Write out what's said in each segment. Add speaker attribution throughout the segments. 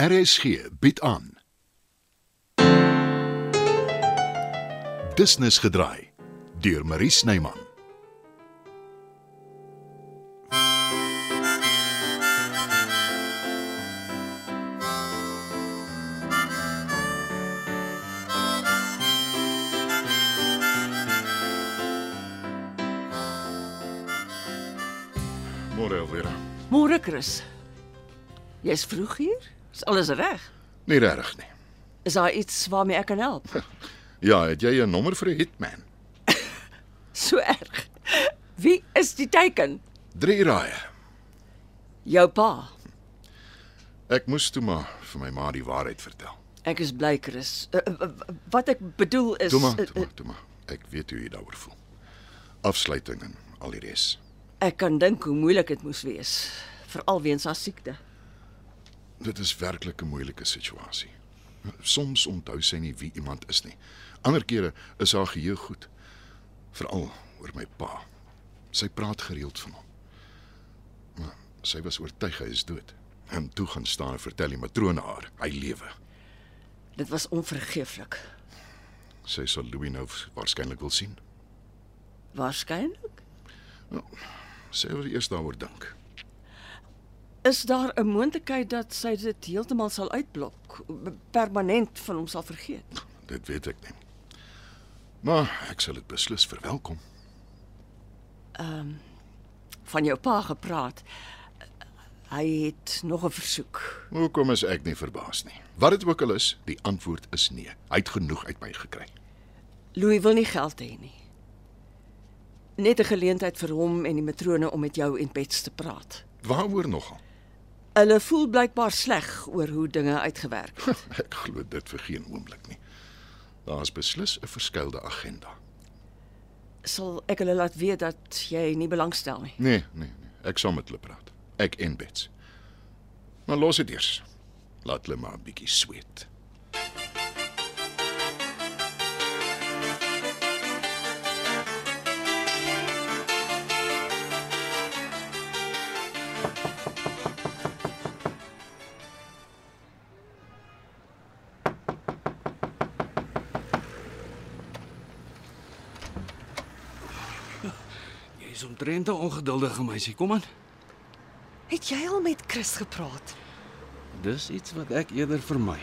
Speaker 1: RSG bied aan. Business gedraai deur Marie Snyman.
Speaker 2: Môre Elvira.
Speaker 3: Môre, Chris. Jy's vroeg hier? Is alles reg?
Speaker 2: Nie regtig nie.
Speaker 3: Is daar iets waarmee ek kan help?
Speaker 2: Ja, het jy 'n nommer vir 'n hitman?
Speaker 3: So erg. Wie is die teken?
Speaker 2: 3 raaie.
Speaker 3: Jou pa.
Speaker 2: Ek moes toe maar vir my ma die waarheid vertel.
Speaker 3: Ek is bly, Chris. Uh, uh, uh, wat ek bedoel is
Speaker 2: Toe maar,
Speaker 3: uh,
Speaker 2: toe maar, toe maar. Ek weet hoe jy daaroor voel. Afsluiting en al die res.
Speaker 3: uh, ek kan dink hoe moeilik dit moes wees, veral weens haar siekte.
Speaker 2: Dit is werklik 'n moeilike situasie. Soms onthou sy nie wie iemand is nie. Ander kere is haar geheue goed. Veral oor my pa. Sy praat gereeld van hom. Maar sy was oortuig hy is dood. En toe gaan staan en vertel die matrone haar hy lewe.
Speaker 3: Dit was onvergeeflik.
Speaker 2: Sy sal Louis nou waarskynlik wil sien.
Speaker 3: Waarskynlik
Speaker 2: Sy wil eers daaroor dink.
Speaker 3: is daar 'n moontlikheid dat sy dit heeltemal sal uitblok, permanent van hom sal vergeet.
Speaker 2: Dit weet ek nie. Maar ek sal dit beslis verwelkom.
Speaker 3: Van jou pa gepraat. Hy het nog 'n versoek.
Speaker 2: Hoekom is ek nie verbaas nie? Wat dit ook al is, die antwoord is nee. Hy het genoeg uit my gekry.
Speaker 3: Louis wil nie geld hê nie. Net 'n geleentheid vir hom en die matrone om met jou en Bets te praat.
Speaker 2: Waaroor nogal?
Speaker 3: Hulle voel blykbaar sleg oor hoe dinge uitgewerk het.
Speaker 2: Ek glo dit vir geen oomblik nie. Daar is beslis 'n verskeidelde agenda.
Speaker 3: Sal ek hulle laat weet dat jy nie belangstel nie.
Speaker 2: Nee, nee, nee. Ek sal met hulle praat. Ek en Bets. Maar los dit eers. Laat hulle maar 'n bietjie sweet.
Speaker 4: Jy is omtrent 'n ongeduldige meisie, kom aan.
Speaker 5: Het jy al met Chris gepraat?
Speaker 4: Dis iets wat ek eerder vermy.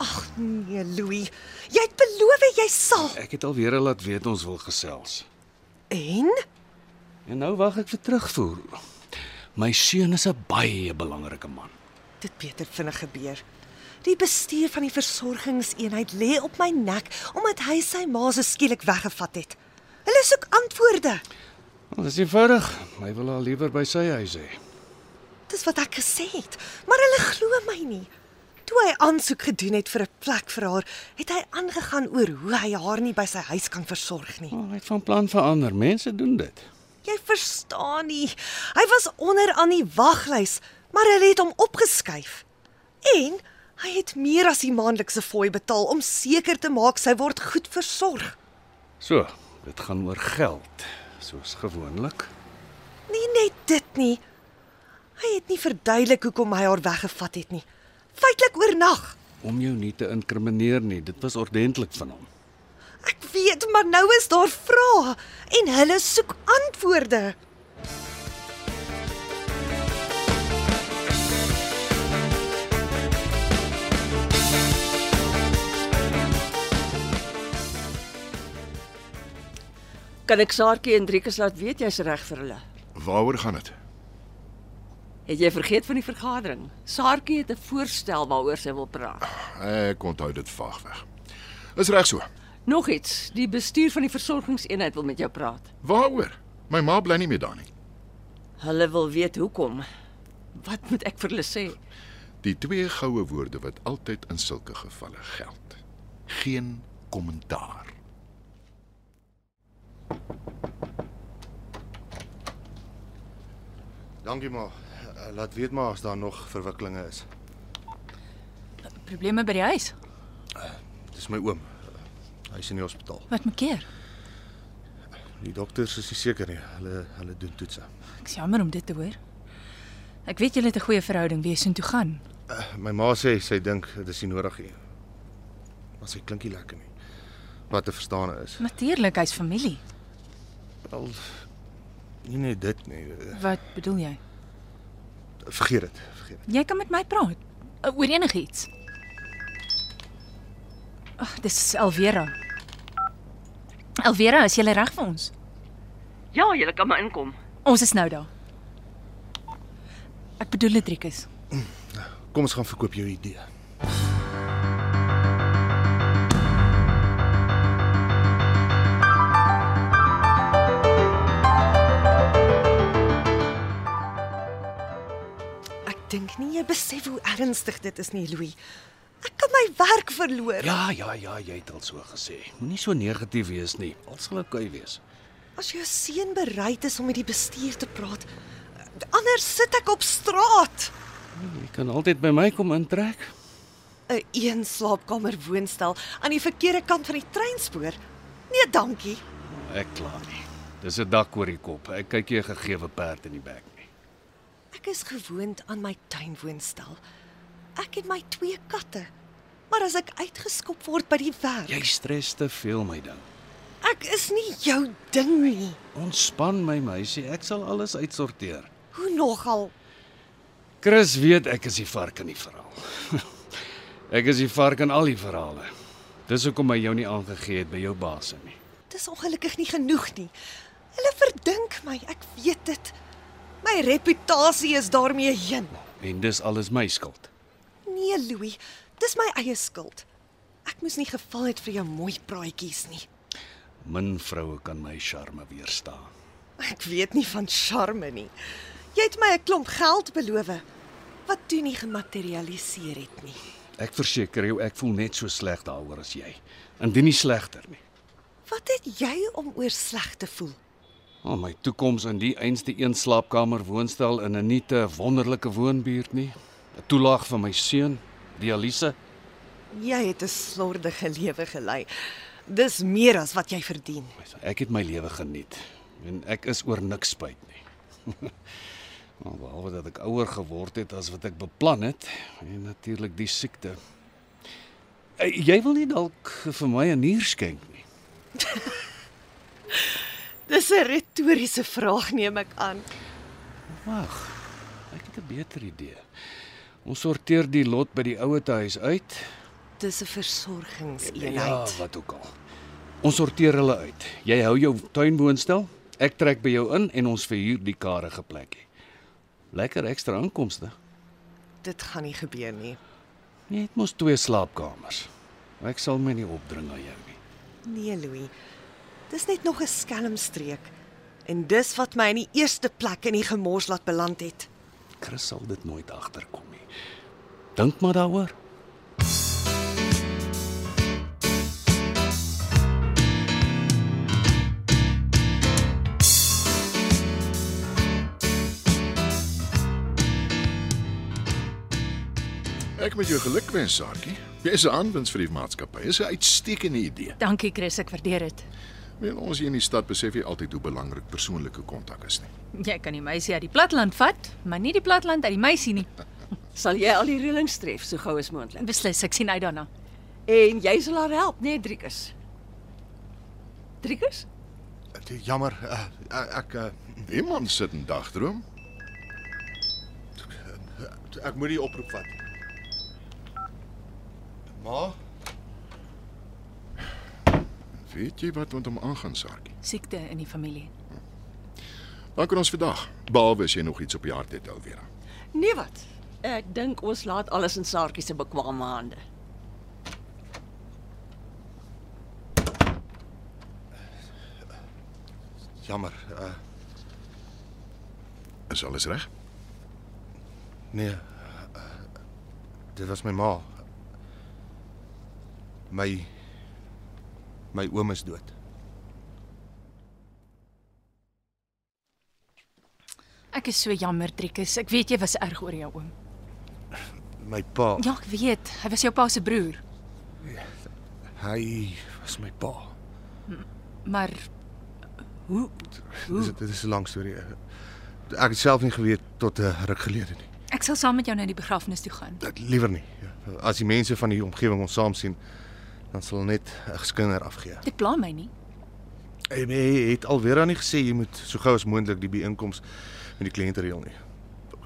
Speaker 5: Ag nee, Louis, jy het beloof jy sal.
Speaker 4: Ek het alweer laat weet ons wil gesels.
Speaker 5: En
Speaker 4: En nou wag ek vir terugvoer. My seun is 'n baie belangrike man.
Speaker 5: dit beter vinnig gebeur. Die bestuur van die versorgingseenheid lê op my nek omdat hy sy ma so skielik weggevat het. Hulle soek antwoorde.
Speaker 4: Wel, dis eenvoudig. Hy wil haar liewer by sy huis hê.
Speaker 5: Dis wat ek gesê het, maar hulle glo my nie. Toe hy aansoek gedoen het vir 'n plek vir haar, het hy aangegaan oor hoe hy haar nie by sy huis kan versorg nie.
Speaker 4: Maar hy het van plan verander. Mense doen dit.
Speaker 5: Jy verstaan nie. Hy was onder aan die waglys, maar hulle het hom opgeskuif. En hy het meer as die maandelikse fooi betaal om seker te maak sy word goed versorg.
Speaker 4: So, dit gaan oor geld, soos gewoonlik.
Speaker 5: Nie net dit nie. Hy het nie verduidelik hoekom hy haar weggevat het nie. Feitelik oornag.
Speaker 4: Om jou nie te inkrimineer nie. Dit was ordentlik van hom.
Speaker 5: Ek weet, maar nou is daar vrae en hulle soek antwoorde.
Speaker 3: Kan ek Saartjie en Driekus laat weet jy's reg vir hulle?
Speaker 2: Waaroor gaan dit?
Speaker 3: Het jy vergeet van die vergadering? Saartjie het 'n voorstel waaroor sy wil praat.
Speaker 2: Ek onthou dit vaag weg. Is reg so.
Speaker 3: Nog iets, die bestuur van die versorgingseenheid wil met jou praat.
Speaker 2: Waaroor? My ma bly nie meer daar nie.
Speaker 3: Hulle wil weet hoekom. Wat moet ek vir hulle sê?
Speaker 2: Die twee goue woorde wat altyd in sulke gevalle geld. Geen kommentaar.
Speaker 6: Dankie maar. Eh, Laat weet maar as daar nog verwikkelinge is.
Speaker 7: Probleme by die huis.
Speaker 6: Dis my oom. Eh, Hy is in die hospitaal.
Speaker 7: Wat maak keer?
Speaker 6: Die dokters is nie seker nie. Hulle hulle doen toetse.
Speaker 7: Ek is jammer om dit te hoor. Ek weet julle het 'n goeie verhouding, wees en toe gaan.
Speaker 6: Eh, My ma sê sy dink dit is nie nodig nie. Maar sy klink nie lekker nie. Wat te verstaan is.
Speaker 7: Natuurlik, hy's familie.
Speaker 6: Al nie net dit nie. eh,
Speaker 7: Wat bedoel jy?
Speaker 6: Vergeet dit, vergeet dit.
Speaker 7: Jy kan met my praat uh, oor enigiets. Ag, dis Alvera. Alvera, is jy reg vir ons?
Speaker 3: Ja, jy kan maar inkom.
Speaker 7: Ons is nou daar. Ek bedoel dit, Rikus.
Speaker 6: Kom ons gaan verkoop jou idee.
Speaker 5: Ek dink nie jy besef hoe ernstig dit is nie, Louis. Ek kan my werk verloor.
Speaker 4: Ja, ja, ja, jy het al so gesê. Moenie so negatief wees nie. Alles sal oukei wees.
Speaker 5: As jou seun bereid is om met die bestuur te praat, anders sit ek op straat.
Speaker 4: Jy kan altyd by my kom intrek.
Speaker 5: 'n Een slaapkamer woonstel aan die verkeerde kant van die treinspoor. Nee, dankie.
Speaker 4: Ek kla nie. Dis 'n dak oor die kop. Ek kyk jy 'n gegewe perd in die bek nie.
Speaker 5: Ek is gewoond aan my tuinwoonstel. Ek het my twee katte. Maar as ek uitgeskop word by die werk,
Speaker 4: Jy stres te veel my ding.
Speaker 5: ek is nie jou ding nie.
Speaker 4: Ontspan my meisie, ek sal alles uitsorteer.
Speaker 5: Hoe nogal?
Speaker 4: Chris weet ek is die vark in die verhaal. ek is die vark in al die verhale. Dis hoekom hy jou nie aangegee het by jou baas nie.
Speaker 5: Dis ongelukkig nie genoeg nie. Hulle verdink my, ek weet dit. My reputasie is daarmee heen.
Speaker 4: En dis alles my skuld.
Speaker 5: Nee, Louis, dis my eie skuld. Ek moes nie geval het vir jou mooi praatjies nie.
Speaker 4: Min vroue kan my charme weerstaan.
Speaker 5: Ek weet nie van charme nie. Jy het my 'n klomp geld beloof wat toe nie gematerialiseer het nie.
Speaker 4: Ek verseker jou, ek voel net so sleg daaroor as jy. Indien nie slegter nie.
Speaker 5: Wat het jy om oor sleg te voel?
Speaker 4: Al Oh, my toekoms in die einste een slaapkamer woonstel in 'n nie te wonderlike woonbuurt nie. 'n Toelaag vir my seun, Dialise.
Speaker 5: Jy het 'n slordige lewe gelei. Dis meer as wat jy verdien.
Speaker 4: Ek het my lewe geniet en ek is oor niks spyt nie. Maar behalwe dat ek ouer geword het as wat ek beplan het en natuurlik die siekte. Eh, Jy wil nie dalk vir my 'n nier skenk nie.
Speaker 5: Dis 'n retoriese vraag neem ek aan.
Speaker 4: Wag. Ek het 'n beter idee. Ons sorteer die lot by die ouete huis uit
Speaker 5: Dis 'n versorgingseenheid.
Speaker 4: Ja, wat ook al. Ons sorteer hulle uit. Jy hou jou tuinwoonstel, ek trek by jou in en ons verhuur die karige plekkie. Lekker ekstra inkomste.
Speaker 5: Dit gaan nie gebeur nie.
Speaker 4: Jy het mos twee slaapkamers. Ek sal my nie opdring aan jou nie.
Speaker 5: Nee, Louis. Dis net nog 'n skelmstreek. En dis wat my in die eerste plek in die gemors laat beland het.
Speaker 4: Chris sal dit nooit agterkom nie. Dink maar daaroor.
Speaker 2: Ek moet jou gelukwens, Saartjie. Jy is 'n aanwins vir die maatskappy. Is 'n uitstekende idee.
Speaker 7: Dankie, Chris, ek waardeer dit.
Speaker 2: Wel, ons hier in die stad besef jy altyd hoe belangrik persoonlike kontak is nie.
Speaker 7: Jy kan die meisie uit die platland vat, maar nie die platland uit die meisie nie.
Speaker 3: Sal jy al die reëlings tref so gou as moontlik.
Speaker 7: Beslis, ek sien uit daarna.
Speaker 3: En jy sal haar help, nee, Driekus. Driekus?
Speaker 6: Dit- Jammer, eh, eh, ek eh,
Speaker 2: Iemand sit en dagdroom.
Speaker 6: ek moet die oproep vat. Ma,
Speaker 2: Weet jy wat met hom aangaan, Saartjie?
Speaker 7: Siekte in die familie.
Speaker 2: Dan kan ons vandag, behalwe as jy nog iets op die hart het, Alvera.
Speaker 3: Nee wat? Ek dink ons laat alles in Saartjie se bekwame hande.
Speaker 6: jammer. eh,
Speaker 2: Is alles reg?
Speaker 6: Nee. eh, Dit was my ma. My my oom is dood.
Speaker 7: Ek is so jammer, Driekus. Ek weet jy was erg oor jou oom.
Speaker 6: My pa.
Speaker 7: Ja, ek weet. Hy was jou pa se broer,
Speaker 6: Hy was my pa.
Speaker 7: maar hoe
Speaker 6: Dis dit is 'n lang storie. Ek het self nie geweet tot 'n ruk gelede nie.
Speaker 7: Ek sal saam met jou na die begrafnis toe gaan.
Speaker 6: Dit liewer nie. Ja. As die mense van die omgewing ons saam sien, dan sal hulle net 'n geskinder afgee.
Speaker 7: Dit pla my nie.
Speaker 6: Hey, Jy het alweer aan nie gesê jy moet so gou as moontlik die byeenkoms met die kliënte reël nie.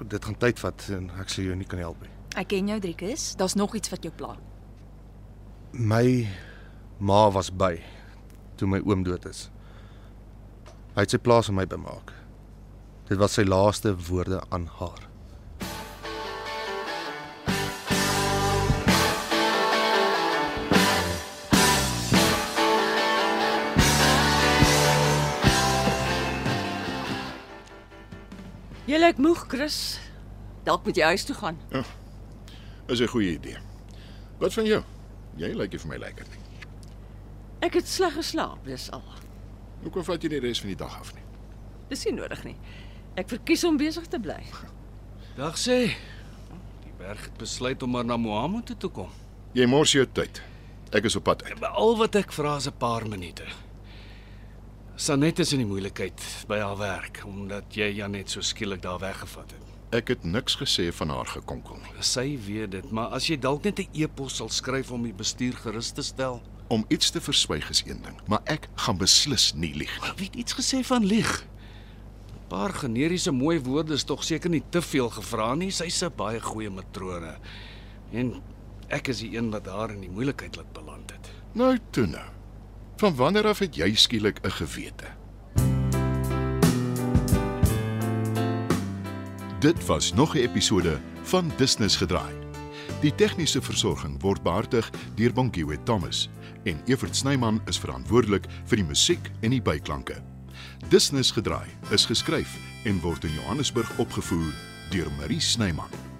Speaker 6: Dit gaan tyd vat en ek sal jou nie kan help nie.
Speaker 7: Ek ken jou, Driekus. Daar's nog iets wat jou pla.
Speaker 6: My ma was by toe my oom dood is. Hy het sy plaas aan my bemaak. Dit was sy laaste woorde aan haar.
Speaker 3: Jy lyk moeg, Chris. Dalk moet jy huis toe gaan.
Speaker 2: Is 'n goeie idee. Wat van jou? Jy lyk nie vir my lekker nie.
Speaker 3: Ek het sleg geslaap, dis al.
Speaker 2: Hoekom vat jy die res van die dag af nie?
Speaker 3: Dis nie nodig nie. Ek verkies om besig te bly.
Speaker 4: Dag sê. Die berg het besluit om maar na Mohammed toe te kom.
Speaker 2: Jy mors jou tyd. Ek is op pad uit.
Speaker 4: Maar Al wat ek vra is 'n paar minute. Sanet is in die moeilikheid by haar werk omdat jy Janet so skielik daar weggevat het.
Speaker 2: Ek het niks gesê van haar gekonkel nie.
Speaker 4: Sy weet dit, maar as jy dalk net 'n e-pos sal skryf om die bestuur gerus te stel.
Speaker 2: Om iets te verswyg is een ding, maar ek gaan beslis nie lieg nie.
Speaker 4: Maar Wie het iets gesê van lieg? 'n Paar generiese mooi woorde is tog seker nie te veel gevra nie. Sy's 'n baie goeie matrone. En ek is die een wat haar in die moeilikheid laat beland het.
Speaker 2: Nou toe nou. Van wanneer af het jy skielik 'n gewete?
Speaker 1: Dit was nog 'n episode van Business gedraai. Die tegniese versorging word behartig deur Bonnie Witt Thomas en Evert Snyman is verantwoordelik vir die musiek en die byklanke. Business gedraai is geskryf en word in Johannesburg opgevoer deur Marie Snyman.